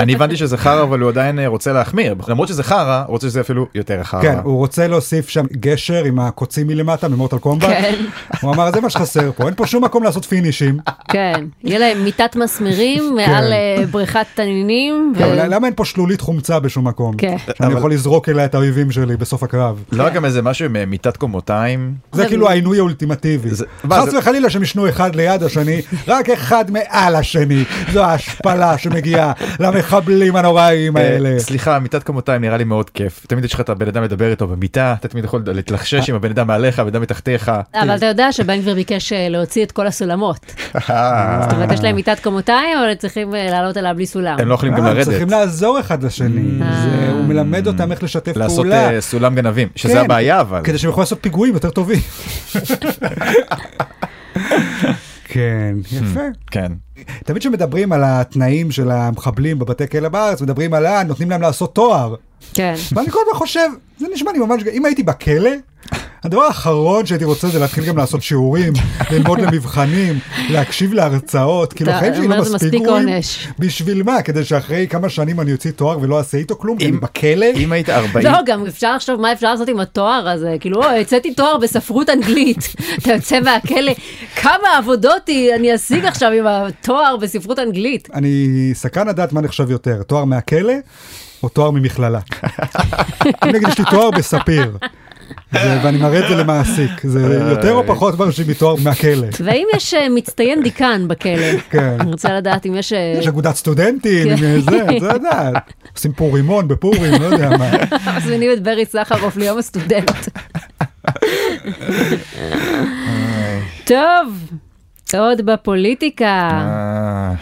אני הבנתי שזה חרא, אבל הוא עדיין אה, רוצה להחמיר. למרות שזה חרא, הוא רוצה שזה אפילו יותר חרא. כן, הוא רוצה להוסיף שם גשר עם הקוצים מלמטה ממורטל קומבה. כן. הוא אמר, זה מה שחסר פה, אין פה שום מקום לעשות פינישים. כן, יהיה להם מיטת מסמרים מעל אה, בריכת תנינים. ו- כן, אבל למה אין פה שלולית חומצה בשום מקום? כן. שאני אבל- יכול לזרוק אליה את האויבים שלי בסוף הקרב. לא גם איזה משהו עם אה, מיטת קומותיים. זה אבל- כאילו העינוי האולטימטיבי. זה- מה, חס זה- וחלילה שהם ישנו אחד ליד השני, רק אחד מעל השני. זו ההשפלה שמגיעה למחבלים הנוראים האלה. אה, סליחה, מיטת קומותיים נראה לי מאוד כיף. תמיד יש לך את הבן אדם לדבר איתו במיטה, אתה תמיד יכול להתלחשש עם הבן אדם מעליך, הבן אדם מתחתיך. אבל אתה יודע שבן גביר ביקש אה, להוציא את כל הסולמות. זאת אומרת, יש להם מיטת קומותיים, אבל הם צריכים אה, לעלות עליו בלי סולם. הם לא יכולים גם אה, הם צריכים לרדת. לעזור אחד לשני. אה. זה- הוא מלמד אותם איך לשתף לעשות פעולה. אה, סולם גנבים, כן, שזה הבעיה אבל. כדי שהם יוכלו לעשות פיגועים יותר טובים. כן, יפה. כן. תמיד כשמדברים על התנאים של המחבלים בבתי כלא בארץ, מדברים על אה, נותנים להם לעשות תואר. כן. ואני כל הזמן חושב, זה נשמע לי ממש, אם הייתי בכלא, הדבר האחרון שהייתי רוצה זה להתחיל גם לעשות שיעורים, ללמוד למבחנים, להקשיב להרצאות, כאילו אתה החיים שלי לא אומר, זה מספיק מספיק גרועים. עונש. בשביל מה? כדי שאחרי כמה שנים אני אוציא תואר ולא אעשה איתו כלום? כי אני בכלא? אם היית 40, לא, גם אפשר לחשוב מה אפשר לעשות עם התואר הזה. כאילו, אוי, הוצאתי תואר בספרות אנגלית. אתה יוצא מהכלא, כמה עבודות היא- אני אשיג עכשיו עם התואר בספרות אנגלית. אני סקרן לדעת מה נחשב יותר, תואר מהכלא או תואר ממכללה. אם נגיד יש לי תואר בספיר, זה- ואני מראה את זה למעסיק, זה יותר או פחות מרשים מתואר מהכלא. והאם יש אה, מצטיין דיקן בכלא? כן. אני רוצה לדעת אם יש... אה, יש אגודת סטודנטים, כן. עם זה, אתה יודע, עושים פה רימון בפורים, לא יודע מה. מזמינים את ברי סחרוף ליום הסטודנט. טוב, עוד בפוליטיקה. אה,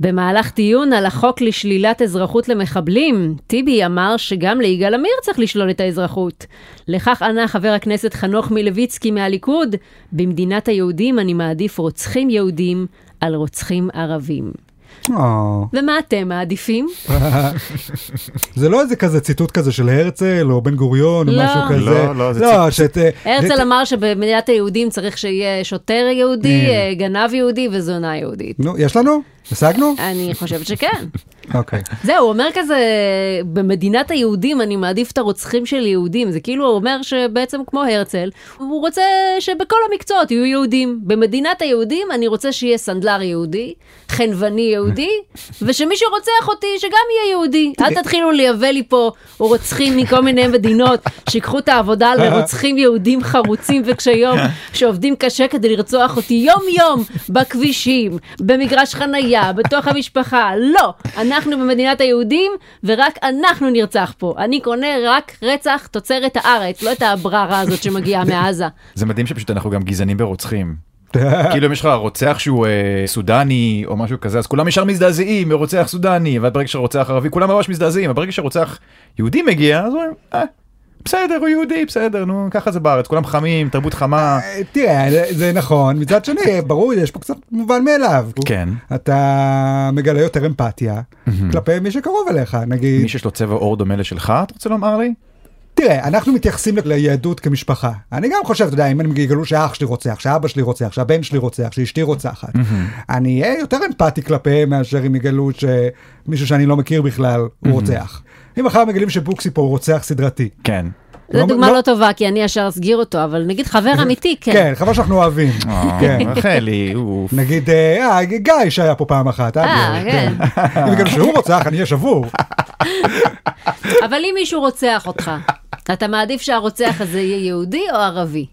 במהלך דיון על החוק לשלילת אזרחות למחבלים, טיבי אמר שגם ליגאל עמיר צריך לשלול את האזרחות. לכך ענה חבר הכנסת חנוך מלביצקי מהליכוד, במדינת היהודים אני מעדיף רוצחים יהודים על רוצחים ערבים. אה, ומה אתם מעדיפים? זה לא איזה כזה ציטוט כזה של הרצל או בן גוריון או לא. משהו כזה. לא, לא, זה לא, שאת... אה, הרצל זה- אמר שבמדינת היהודים צריך שיהיה שוטר יהודי, אה, גנב יהודי וזונה יהודית. נו, יש לנו? השגנו? אני חושבת שכן. אוקיי. זהו, הוא אומר כזה, במדינת היהודים אני מעדיף את הרוצחים של יהודים. זה כאילו הוא אומר שבעצם כמו הרצל, הוא רוצה שבכל המקצועות יהיו יהודים. במדינת היהודים אני רוצה שיהיה סנדלר יהודי, חנווני יהודי, ושמי שרוצח אותי שגם יהיה יהודי. אל תתחילו לייבא לי פה רוצחים מכל מיני מדינות, שיקחו את העבודה לרוצחים יהודים חרוצים וקשי יום, שעובדים קשה כדי לרצוח אותי יום-יום בכבישים, במגרש חנייה, בתוך המשפחה. לא, אנחנו במדינת היהודים, ורק אנחנו נרצח פה. אני קונה רק רצח תוצרת הארץ, לא את הבררה הזאת שמגיעה מעזה. זה מדהים שפשוט אנחנו גם גזענים ברוצחים. כאילו אם יש לך רוצח שהוא אה, סודני או משהו כזה אז כולם ישר מזדעזעים מרוצח סודני אבל ברגע שרוצח ערבי כולם ממש מזדעזעים אבל ברגע שרוצח יהודי מגיע אז אומרים "אה, בסדר הוא יהודי בסדר נו ככה זה בארץ כולם חמים תרבות חמה אה, תראה, זה- זה נכון, מצד שני, ברור, יש פה קצת מובן מאליו. כן. אתה מגלה יותר אמפתיה כלפי מי שקרוב אליך, נגיד. מי שיש לו צבע עור דומה לשלך אתה רוצה לומר לי? תראה, אנחנו מתייחסים ל- ליהדות כמשפחה. אני גם חושב, אתה יודע, אם הם יגלו שאח שלי רוצח, שאבא שלי רוצח, שהבן שלי רוצח, שאשתי רוצחת, אני אהיה יותר אמפתי כלפיהם מאשר אם יגלו שמישהו שאני לא מכיר בכלל הוא רוצח. אם מחר מגלים שבוקסי פה הוא רוצח סדרתי. כן. זו לא- דוגמה לא- לא טובה, כי אני ישר אסגיר אותו, אבל נגיד חבר אמיתי, כן. כן, חבל שאנחנו אוהבים. אה. כן. רחלי אוף. נגיד, אה, אה, גיא שהיה פה פעם אחת, אה, כן. אם יגלו שהוא רוצח, אני אהיה שבור. כן. אבל אם מישהו רוצח אותך, אתה מעדיף שהרוצח הזה יהיה יהודי או ערבי?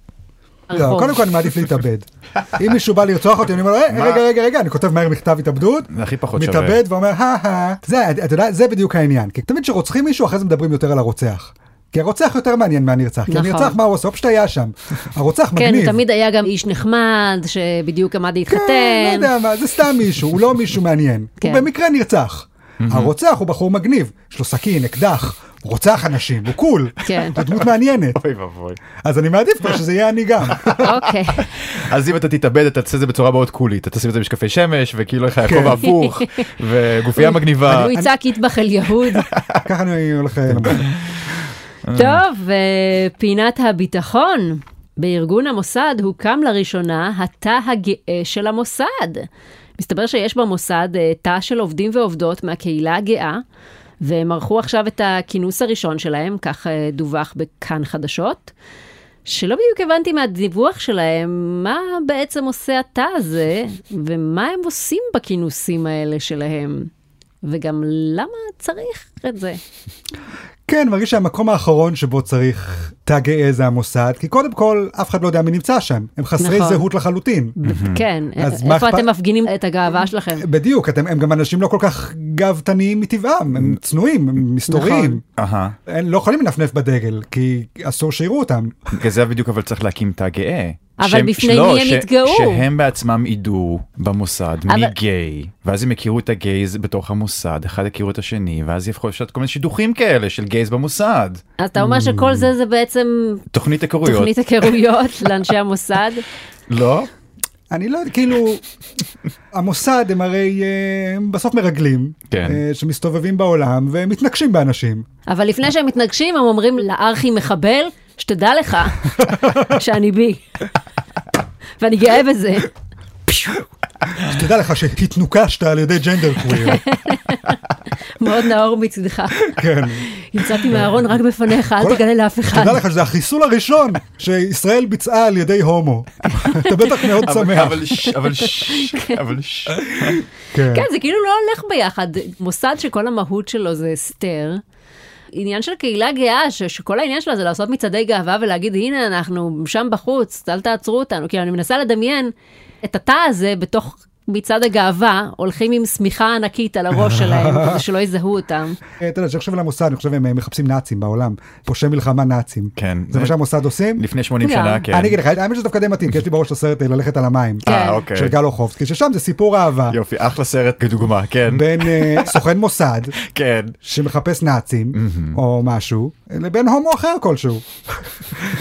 לא, הרחוב. קודם כל אני מעדיף להתאבד. אם מישהו בא לרצוח אותי, אני אומר לו, "אה, רגע, רגע, רגע, אני כותב מהר מכתב התאבדות. זה הכי פחות שווה. מתאבד ואומר, הא זה, אתה יודע, זה בדיוק העניין. כי תמיד כשרוצחים מישהו, אחרי זה מדברים יותר על הרוצח. כי הרוצח יותר מעניין מהנרצח. כי נכון. הנרצח, מה הוא עושה? הוא פשוט היה שם. הרוצח כן, מגניב. הוא תמיד היה גם איש נחמד, שבדיוק עמד כן, להתחתן. לא יודע מה, זה סתם מישהו, הוא לא מישהו מעניין. הוא כן. במקרה נרצח. הרוצח הוא בחור מגניב, יש לו סכין, אקדח, הוא רוצח אנשים, הוא קול. כן. הוא דמות מעניינת. אוי ואבוי. אז אני מעדיף כבר שזה יהיה אני גם. אוקיי. אז אם אתה תתאבד אתה תעשה את זה בצורה מאוד קולית, אתה תשים את זה משקפי שמש וכאילו איך כן. הכובע הפוך וגופייה מגניבה. אה, הוא יצעק יטבח אל יהוד. ככה אני הולך אה, למות. טוב, אה, פינת הביטחון. בארגון המוסד הוקם לראשונה התא הגאה של המוסד. מסתבר שיש במוסד אה, תא של עובדים ועובדות מהקהילה הגאה, והם ערכו עכשיו את הכינוס הראשון שלהם, כך אה, דווח בכאן חדשות. שלא בדיוק הבנתי מהדיווח שלהם, מה בעצם עושה התא הזה, ומה הם עושים בכינוסים האלה שלהם, וגם למה צריך את זה. כן, מרגיש שהמקום האחרון שבו צריך תא גאה זה המוסד, כי קודם כל, אף אחד לא יודע מי נמצא שם. הם חסרי נכון. זהות לחלוטין. כן, אז א- מה איפה אכפת- אה, אתם מפגינים את הגאווה שלכם? בדיוק, אתם, הם גם אנשים לא כל כך גאוותניים מטבעם, הם צנועים, הם מסתוריים. נכון. אהה. הם לא יכולים לנפנף בדגל, כי אסור שיראו אותם. בגלל זה בדיוק אבל צריך להקים תא גאה. אבל שהם- בפני שלא, מי הם ש- יתגאו? שהם בעצמם ידעו במוסד מי אבל- גיי, ואז הם יכירו את הגייז בתוך המוסד, אחד יכירו את השני, ואז יכול להיות כל מיני שידוכים כאלה של גייז במוסד. אה, אז אתה אומר שכל זה זה בעצם תוכנית היכרויות. תוכנית היכרויות לאנשי המוסד? לא? אני לא יודע, כאילו, המוסד הם הרי אה, הם בסוף מרגלים, כן. אה, שמסתובבים בעולם ומתנקשים באנשים. אבל לפני שהם מתנגשים, הם אומרים לארכי מחבל, שתדע לך שאני בי. ואני גאה בזה. שתדע לך שהתנוקשת על ידי ג'נדר קוויר. מאוד נאור מצדך. כן. יצאתי מהארון רק בפניך, כל- אל תגלה לאף אחד. תדע לך שזה החיסול הראשון שישראל ביצעה על ידי הומו. אתה בטח מאוד אבל שמח. אבל ש... אבל ש... אבל ש... כן. כן, זה כאילו לא הולך ביחד. מוסד שכל המהות שלו זה הסתר. עניין של קהילה גאה, ש- שכל העניין שלה זה לעשות מצעדי גאווה ולהגיד, הנה, אנחנו שם בחוץ, אל תעצרו אותנו. כאילו, אני מנסה לדמיין את התא הזה בתוך מצעד הגאווה, הולכים עם שמיכה ענקית על הראש שלהם, כדי שלא יזהו אותם. אה, אתה יודע, כשאני חושב על המוסד, אני חושב הם אה, מחפשים נאצים בעולם. פושעי מלחמה נאצים. כן. זה מה שהמוסד עושים? לפני 80 גם. שנה, כן. אני אגיד לך, האמת שזה דווקא די מתאים, כי יש לי בראש הסרט אה, ללכת על המים. אה, כן. אוקיי. של גל אוחובסקי, ששם זה סיפור אהבה. יופי, אחלה סרט כדוגמה, כן. בין אה, סוכן מוסד כן. שמחפש נאצים או משהו לבין הומו אחר כלשהו.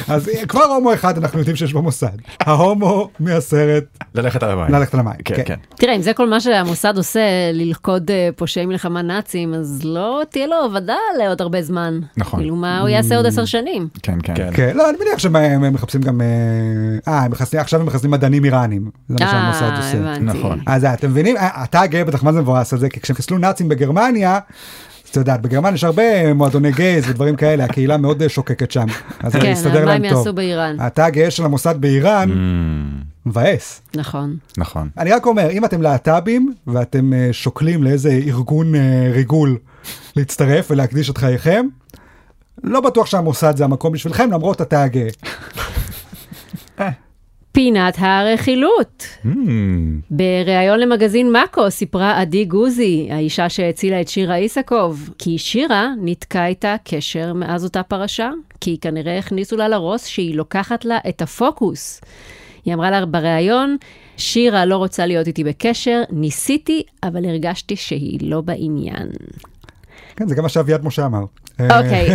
אז אה, כבר הומו אחד אנחנו יודעים שיש במוסד. ההומו מהסרט ללכת על המים. ללכת על המים. כן, כן. תראה, אם זה כל מה שהמוסד עושה, ללכוד אה, פושעי מלחמה נאצים, אז לא תהיה לו עבודה לעוד הרבה זמן. נכון. כאילו, מה הוא יעשה עוד עשר שנים? כן, כן. כן, לא, אני מניח שהם הם מחפשים גם... אה, אה, הם מחסנים, עכשיו הם מחסנים מדענים איראנים. זה מה שהמוסד אה, עושה. הבנתי. נכון. אז אה, אתם מבינים? אה, אתה גאה בטח מה זה מבואס על זה, כי כשהם חיסלו נאצים בגרמניה, אז את יודעת, בגרמניה יש הרבה מועדוני גייז ודברים כאלה, הקהילה מאוד אה, שוקקת שם. אז זה כן, יסתדר מה הם להם יעשו טוב. אה. באיראן? אתה הגאה של המוסד באיראן, מבאס. נכון. Mm, נכון. אני רק אומר, אם אתם להט"בים ואתם אה, שוקלים לאיזה ארגון אה, ריגול להצטרף ולהקדיש את חייכם, לא בטוח שהמוסד זה המקום בשבילכם, למרות התא הגאה. פינת הרכילות. Mm. Hmm? בריאיון למגזין מאקו סיפרה עדי גוזי, האישה שהצילה את שירה איסקוב, כי שירה ניתקה איתה קשר מאז אותה פרשה, כי כנראה הכניסו לה לראש שהיא לוקחת לה את הפוקוס. היא אמרה לה בריאיון, שירה לא רוצה להיות איתי בקשר, ניסיתי, אבל הרגשתי שהיא לא בעניין. כן, זה גם מה שאביעד משה אמר. אה, אוקיי.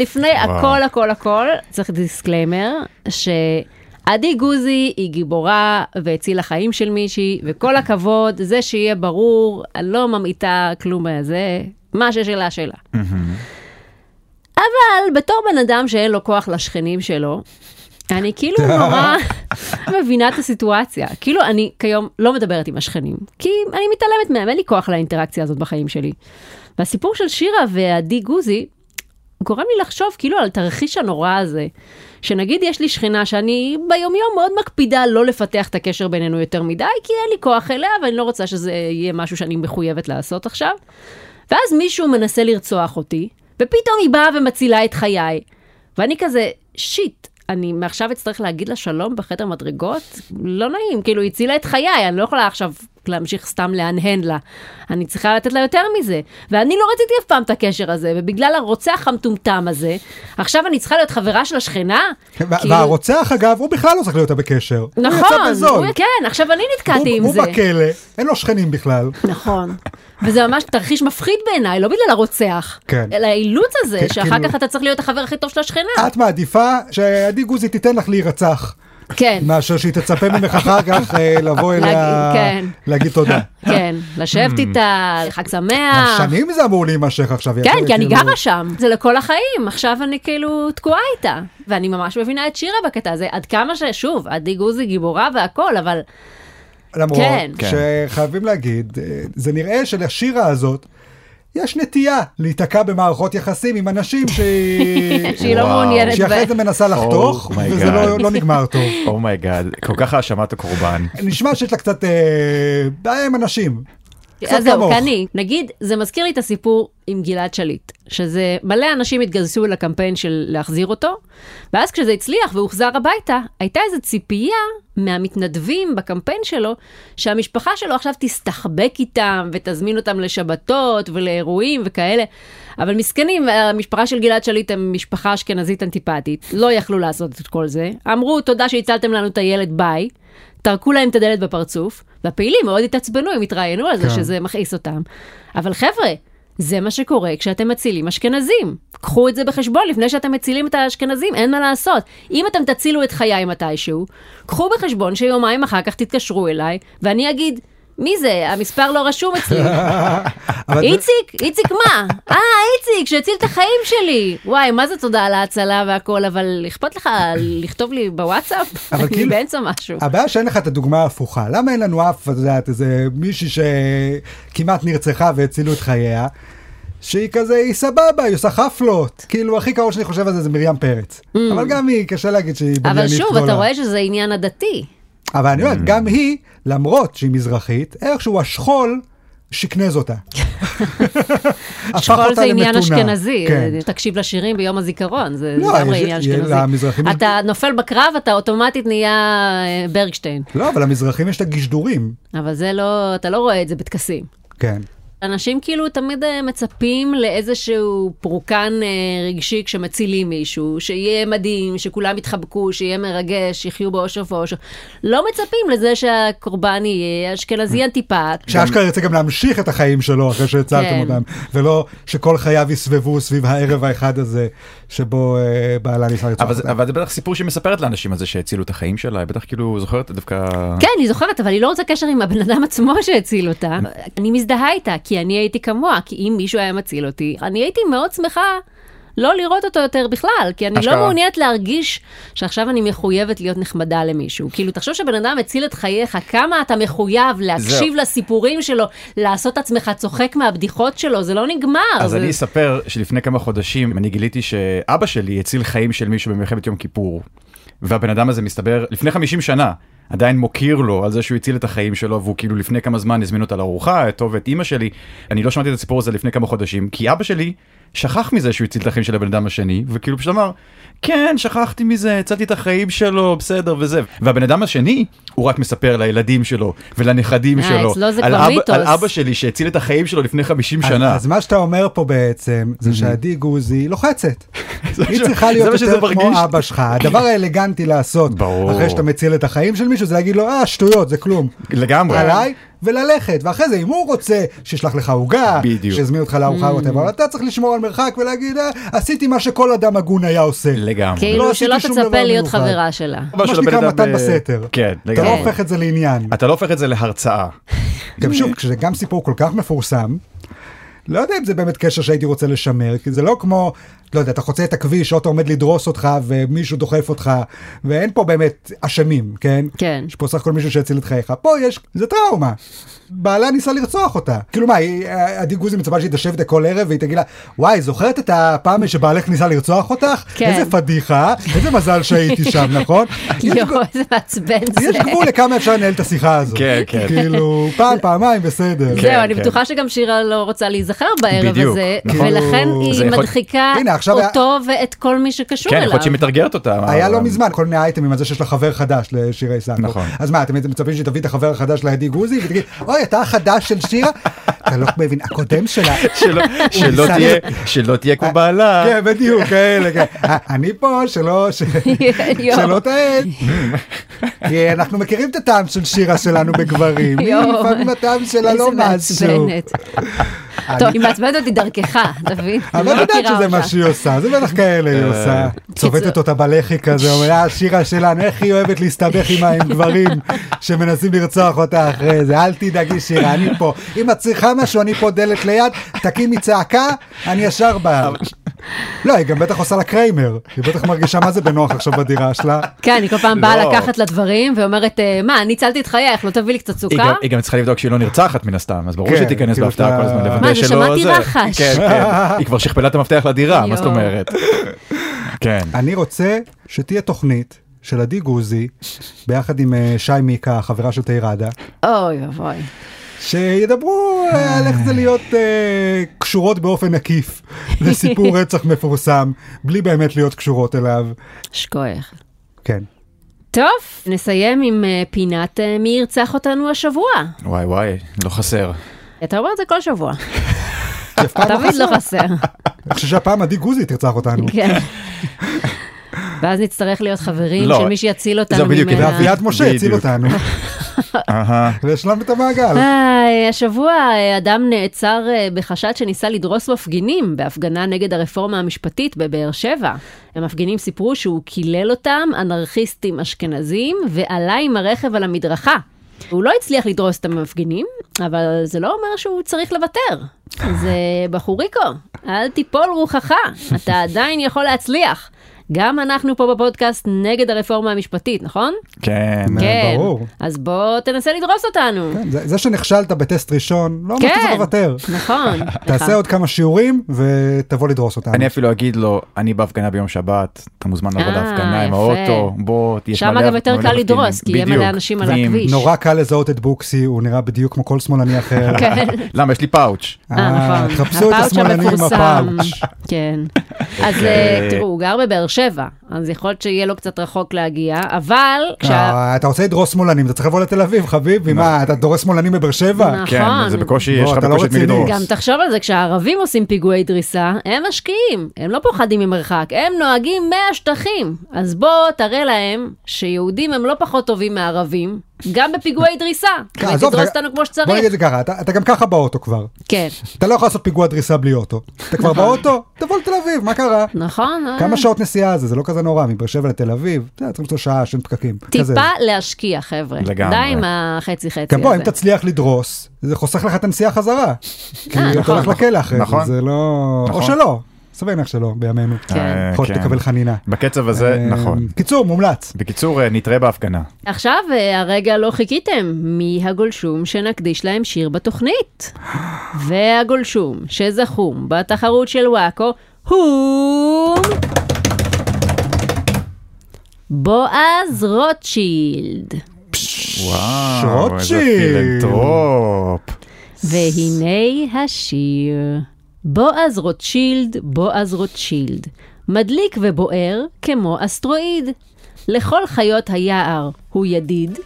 לפני וואו. הכל הכל הכל, צריך דיסקליימר, שעדי גוזי היא גיבורה והצילה חיים של מישהי, וכל הכבוד, זה שיהיה ברור, אני לא ממעיטה כלום מזה, מה ששלה שלה. אבל בתור בן אדם שאין לו כוח לשכנים שלו, אני כאילו נורא מבינה את הסיטואציה. כאילו, אני כיום לא מדברת עם השכנים, כי אני מתעלמת מהם, אין לי כוח לאינטראקציה הזאת בחיים שלי. והסיפור של שירה ועדי גוזי גורם לי לחשוב כאילו על התרחיש הנורא הזה, שנגיד יש לי שכנה שאני ביומיום מאוד מקפידה לא לפתח את הקשר בינינו יותר מדי, כי אין לי כוח אליה ואני לא רוצה שזה יהיה משהו שאני מחויבת לעשות עכשיו. ואז מישהו מנסה לרצוח אותי, ופתאום היא באה ומצילה את חיי. ואני כזה, שיט, אני מעכשיו אצטרך להגיד לה שלום בחדר מדרגות? לא נעים, כאילו, היא הצילה את חיי, אני לא יכולה עכשיו להמשיך סתם להנהן לה. אני צריכה לתת לה יותר מזה. ואני לא רציתי אף פעם את הקשר הזה, ובגלל הרוצח המטומטם הזה, עכשיו אני צריכה להיות חברה של השכנה? וה- כאילו- והרוצח אגב, הוא בכלל לא צריך להיות בקשר. הוא נכון, יצא בזול. הוא- כן, עכשיו אני הוא- נתקעתי עם הוא זה. בכלא, אין לו שכנים בכלל. נכון. וזה ממש תרחיש מפחיד בעיניי, לא בגלל הרוצח, כן. אלא האילוץ הזה, כן, שאחר כאילו- כך אתה צריך להיות החבר הכי טוב של השכנה. את מעדיפה שעדי גוזי תיתן לך להירצח, כן, מאשר שהיא תצפה ממך אחר כך אה, לבוא אליה, להגיד- כן. להגיד תודה. כן, לשבת איתה, חג שמח. Hmm. שנים זה אמור להימשך עכשיו. יכול אה. כן, להיות כי אני כאילו- גרה שם, זה לכל החיים, עכשיו אני כאילו תקועה איתה. ואני ממש מבינה את שירה בקטע הזה, עד כמה ששוב, עדי גוזי גיבורה והכל, אבל למרות כן. שחייבים להגיד, אה, זה נראה שלשירה הזאת יש נטייה להיתקע במערכות יחסים עם אנשים שהיא... שהיא לא וואו. מעוניינת. שהיא אחרי ב- זה מנסה לחתוך, Oh my וזה God. לא לא נגמר טוב. אומייגאד, Oh כל כך האשמת הקורבן. נשמע שיש לה קצת אה, בעיה עם אנשים. קצת אז כן, זהו, כמוך. קני. נגיד, זה מזכיר לי את הסיפור עם גלעד שליט, שזה מלא אנשים התגייסו לקמפיין של להחזיר אותו, ואז כשזה הצליח והוחזר הביתה, הייתה איזו ציפייה מהמתנדבים בקמפיין שלו, שהמשפחה שלו עכשיו תסתחבק איתם ותזמין אותם לשבתות ולאירועים וכאלה. אבל מסכנים, המשפחה של גלעד שליט הם משפחה אשכנזית אנטיפטית, לא יכלו לעשות את כל זה. אמרו, תודה שהצלתם לנו את הילד, ביי. טרקו להם את הדלת בפרצוף, והפעילים מאוד התעצבנו, הם התראיינו על זה כן. שזה מכעיס אותם. אבל חבר'ה, זה מה שקורה כשאתם מצילים אשכנזים. קחו את זה בחשבון לפני שאתם מצילים את האשכנזים, אין מה לעשות. אם אתם תצילו את חיי מתישהו, קחו בחשבון שיומיים אחר כך תתקשרו אליי, ואני אגיד, מי זה? המספר לא רשום אצלי. אבל זה- איציק, איציק מה? אה, איציק, שהציל את החיים שלי. וואי, מה זה תודה על ההצלה והכל, אבל אכפת לך לכתוב לי בוואטסאפ? אבל אני כאילו- באמצע משהו. הבעיה שאין לך את הדוגמה ההפוכה. למה אין לנו אף, את יודעת, איזה מישהי שכמעט נרצחה והצילו את חייה, שהיא כזה, היא סבבה, היא עושה חפלות. כאילו, הכי קרוב שאני חושב על זה זה מרים פרץ. אבל גם היא, קשה להגיד שהיא בניינית Mm. אבל גדולה. שוב, אתה רואה שזה עניין עדתי. אבל אני אומרת, גם היא, למרות שהיא מזרחית, איכשהו השכול שקנז אותה. הפך שכול אותה זה עניין למתונה. אשכנזי, כן. תקשיב לשירים ביום הזיכרון, זה לא, לגמרי יש- עניין יש- אשכנזי. למזרחים יש- אתה נופל בקרב, אתה אוטומטית נהיה אה, ברגשטיין, לא, אבל המזרחים יש את הגשדורים. אבל זה לא, אתה לא רואה את זה בטקסים. כן. אנשים כאילו תמיד אה, מצפים לאיזשהו פורקן אה, רגשי כשמצילים מישהו, שיהיה מדהים, שכולם יתחבקו, שיהיה מרגש, יחיו באושר ואושר. לא מצפים לזה שהקורבן יהיה אה. אשכנזי אנטיפט. שאשכרה ירצה גם להמשיך את החיים שלו אחרי שהצלתם כן. אותם, ולא שכל חייו יסבבו סביב הערב האחד הזה שבו אה, בעלה ניסה לרצוח אבל זה- אותם. אבל זה בטח סיפור שמספרת לאנשים על זה שהצילו את החיים שלה, היא בטח כאילו זוכרת דווקא... כן, היא זוכרת, אבל היא לא רוצה קשר עם הבן אדם עצמו שהציל אותה. אני מזדהה איתה, כי אני הייתי כמוה, כי אם מישהו היה מציל אותי, אני הייתי מאוד שמחה לא לראות אותו יותר בכלל, כי אני לא אשכרה. מעוניינת להרגיש שעכשיו אני מחויבת להיות נחמדה למישהו. כאילו, תחשוב שבן אדם הציל את חייך, כמה אתה מחויב להקשיב זהו. לסיפורים שלו, לעשות עצמך צוחק מהבדיחות שלו, זה לא נגמר. אז זה- אני אספר שלפני כמה חודשים אני גיליתי שאבא שלי הציל חיים של מישהו במלחמת יום כיפור. והבן אדם הזה מסתבר לפני 50 שנה עדיין מוקיר לו על זה שהוא הציל את החיים שלו והוא כאילו לפני כמה זמן הזמין אותה לארוחה אותו ואת אימא שלי. אני לא שמעתי את הסיפור הזה לפני כמה חודשים כי אבא שלי שכח מזה שהוא הציל את החיים של הבן אדם השני וכאילו פשוט אמר כן שכחתי מזה הצלתי את החיים שלו בסדר וזה והבן אדם השני הוא רק מספר לילדים שלו ולנכדים אה, שלו אצלו זה על כבר אבא- מיתוס. על אבא שלי שהציל את החיים שלו לפני 50 שנה. Mhm. אז- אז מה שאתה אומר פה בעצם, זה שעדי גוזי לוחצת. זה היא מה ש- צריכה זה להיות מה שזה יותר מרגיש. כמו אבא שלך. הדבר האלגנטי לעשות, ברור. אחרי שאתה מציל את החיים של מישהו, זה להגיד לו, אה, שטויות, זה כלום. לגמרי. עליי, וללכת. ואחרי זה, אם הוא רוצה, שישלח לך עוגה, בדיוק. שיזמין אותך לארוחה, whatever. אבל אתה צריך לשמור על מרחק ולהגיד, "אה, עשיתי מה שכל אדם הגון היה עושה. לגמרי. לא כאילו, עשיתי שלא שום דבר תצפה להיות מיוחד. חברה שלה. מה של הבן שנקרא אדם, מתן אה, בסתר. כן, אתה לא לגמרי. הופך את זה לעניין. אתה לא הופך את זה להרצאה. לא, גם שוב, כשזה גם סיפור כל כך מפורסם, לא יודע אם זה באמת קשר שהייתי רוצה לשמר, כי זה לא כמו, לא יודע, אתה חוצה את הכביש, אוטו עומד לדרוס אותך ומישהו דוחף אותך, ואין פה באמת אשמים, כן? כן. יש פה סך הכל מישהו שהציל את חייך. פה יש, זה טראומה. בעלה ניסה לרצוח אותה. כאילו מה, היא- עדי גוזי מצפה שהיא תשב איתה כל ערב והיא תגיד לה, וואי, זוכרת את הפעם שבעלך ניסה לרצוח אותך? כן. לא. איזה פדיחה, איזה מזל שהייתי שם, נכון? יש יואו, איזה מעצבן זה. יש גבול לכמה אפשר לנהל את השיחה הזאת. כן, כן. כאילו, פעם, פעמיים, בסדר. כן, זהו, אני כן. בטוחה שגם שירה לא רוצה להיזכר בערב בדיוק, הזה, נכון. ולכן כאילו, היא זה יכול- מדחיקה הנה, עכשיו היה- אותו ואת כל מי שקשור כן, יכול אליו. להיות שהיא מתרגרת אותה. היה לא אבל- מזמן כל מיני אייטמים על זה שיש לה חבר חדש לשירי סנדו. נכון. אז מה, אתם הייתם מצפים שתביא את החבר החדש לידי גוזי ותגיד, אוי, אתה החדש של שירה? אתה לא מבין, הקודם שלה. שלא- שלא ניסה- תהיה- שלא תהיה כמו בעלה. כן, בדיוק, כאלה, כן. אני פה, שלא... ש- יואו. שלא תעד. כי אנחנו מכירים את הטעם של שירה שלנו בגברים. היא יואו. לפעמים הטעם שלה לא איזה משהו. מעצבנת. טוב, היא מעצבנת אותי דרכך, אתה מבין? לא אבל אני את לא יודעת מכירה שזה אותה. מה שהיא עושה, זה בטח כאלה היא עושה. צובטת קיצור. אותה בלחי כזה, אומרת, אה, שירה שלנו, איך היא אוהבת להסתבך עימה עם גברים שמנסים לרצוח אותה אחרי זה. אל תדאגי שירה, אני פה. אם את צריכה משהו, אני פה דלת ליד, תקימי צעקה, אני ישר בא. לא, היא גם בטח עושה לה קריימר. היא בטח מרגישה מה זה בנוח עכשיו בדירה שלה. כן, אני כל פעם באה לא. לקחת לה דברים ואומרת, אה, מה, אני הצלתי את חייך, לא תביא לי קצת היא סוכר? גם- היא גם צריכה לבדוק שהיא לא נרצחת מן הסתם, אז ברור כן, שתיכנס כאילו בהפתעה אתה- כל הזמן, מה, לוודא זה שלא... שמעתי זה. רחש. כן, כן. היא כבר שכפלה את המפתח לדירה, מה זאת יואו. אומרת? כן. אני רוצה שתהיה תוכנית. של עדי גוזי, ביחד עם אה, שי מיקה, החברה של תיירדה, אוי אבוי. שידברו על איך זה להיות אה, קשורות באופן עקיף לסיפור רצח מפורסם, בלי באמת להיות קשורות אליו. שכוח. כן. טוב, נסיים עם אה, פינת אה, מי ירצח אותנו השבוע. וואי וואי, לא חסר. אתה אומר את זה כל שבוע, כי אף פעם לא תמיד חסר. לא חסר. אני חושב שהפעם עדי גוזי תרצח אותנו. כן. ואז נצטרך להיות חברים לא. של מי שיציל אותנו זהו, בדיוק, ממנה. ואביעד משה בדיוק. הציל אותנו, אהה. והשלמת את המעגל. אה. איי, השבוע אה, אדם נעצר אה, בחשד שניסה לדרוס מפגינים בהפגנה נגד הרפורמה המשפטית בבאר שבע. המפגינים סיפרו שהוא קילל אותם, אנרכיסטים אשכנזים, ועלה עם הרכב על המדרכה. הוא לא הצליח לדרוס את המפגינים, אבל זה לא אומר שהוא צריך לוותר. זה בחוריקו, אל תיפול רוחך, אתה עדיין יכול להצליח. גם אנחנו פה בפודקאסט נגד הרפורמה המשפטית, נכון? כן. כן. ברור. אז בוא תנסה לדרוס אותנו. כן, זה זה שנכשלת בטסט ראשון, לא אמרתי כן. צריך לוותר. נכון. תעשה נכון. עוד כמה שיעורים ותבוא לדרוס אותנו. אני אפילו אגיד לו, אני בהפגנה ביום שבת, אתה מוזמן לבוא אה, להפגנה עם יפה. האוטו, בוא, יש שם מלא... גם יותר מלא קל מפגינים." לדרוס, כי יהיה מלא בדיוק. אנשים על ואם- הכביש. נורא קל לזהות את בוקסי, הוא נראה בדיוק כמו כל שמאלני אחר. כן. למה, יש לי פאוץ'. אה, נכון. תחפשו את הפאוץ' השמאלנים עם המפורסם. הפאוץ'. כן. אז אה, תראו, הוא גר בבאר שבע, אז יכול להיות שיהיה לו קצת רחוק להגיע, אבל כשה- אה, אתה רוצה לדרוס שמאלנים, אתה צריך לבוא לתל אביב, חביבי, מה, אתה דורס שמאלנים בבאר שבע? נכון. כן, זה בקושי, בוא, יש לך אתה לא בקושי את מי רציני. לדרוס. גם תחשוב על זה, כשהערבים עושים פיגועי דריסה, הם משקיעים, הם לא פוחדים ממרחק, הם נוהגים מהשטחים. אז בוא תראה להם שיהודים הם לא פחות טובים מערבים, גם בפיגועי דריסה. כן, עזוב, ותדרוס אתה- אותנו כמו בוא נגיד את שצריך. זה ככה, אתה אתה גם ככה באוטו כבר. כן, אתה לא יכול לעשות פיגוע דריסה בלי אוטו. אתה כבר באוטו, תבוא לתל אביב, מה קרה? נכון? אה. כמה שעות נסיעה זה, זה לא כזה נורא, מבאר שבע לתל אביב, אתה יודע, צריך למצוא שעה, שאין פקקים. כזה. טיפה להשקיע, חבר'ה. לגמרי. די עם החצי חצי גם כן, בוא, אם הזה. תצליח לדרוס, זה חוסך לך את הנסיעה חזרה. כי אתה אה, נכון. הולך לכלא אחרי זה, נכון. זה לא... או נכון. שלא, סביר להניח שלא, בימינו. כן. אה, יכול להיות כן. שתקבל חנינה. בקצב הזה, אה, נכון. קיצור, מומלץ. בקיצור, אה, נתראה בהפגנה. עכשיו, אה, הרגע לא חיכיתם, מהגולשום שנקדיש להם שיר בתוכנית. והגולשום שזכום בתחרות של וואקו הוא... בועז רוטשילד. וואו, איזה רוטשילד. פילנטרופ. והנה השיר. בועז רוטשילד, בועז רוטשילד, מדליק ובוער כמו אסטרואיד. לכל חיות היער הוא ידיד,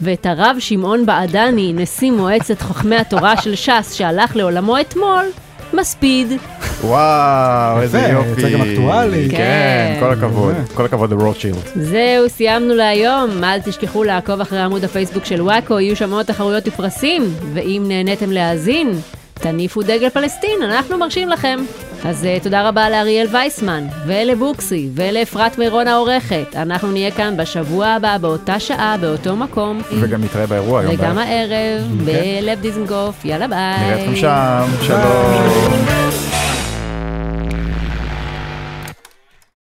ואת הרב שמעון בעדני, נשיא מועצת חכמי התורה של ש"ס, שהלך לעולמו אתמול, מספיד. וואו, איזה יפה, יופי. זה גם אקטואלי. כן. Mm. כן, כל הכבוד. כל הכבוד לרוטשילד. זהו, סיימנו להיום. אל תשכחו לעקוב אחרי עמוד הפייסבוק של וואקו, יהיו שם עוד תחרויות ופרסים, ואם נהניתם להאזין, תניפו דגל פלסטין, אנחנו מרשים לכם. אז אה, תודה רבה לאריאל וייסמן, ולבוקסי, ולאפרת מירון העורכת. אנחנו נהיה כאן בשבוע הבא, באותה שעה, באותו מקום. וגם נתראה באירוע היום. וגם בערב. אוקיי. הערב, בלב דיזנגוף. יאללה ביי. נראה אתכם שם. שלום.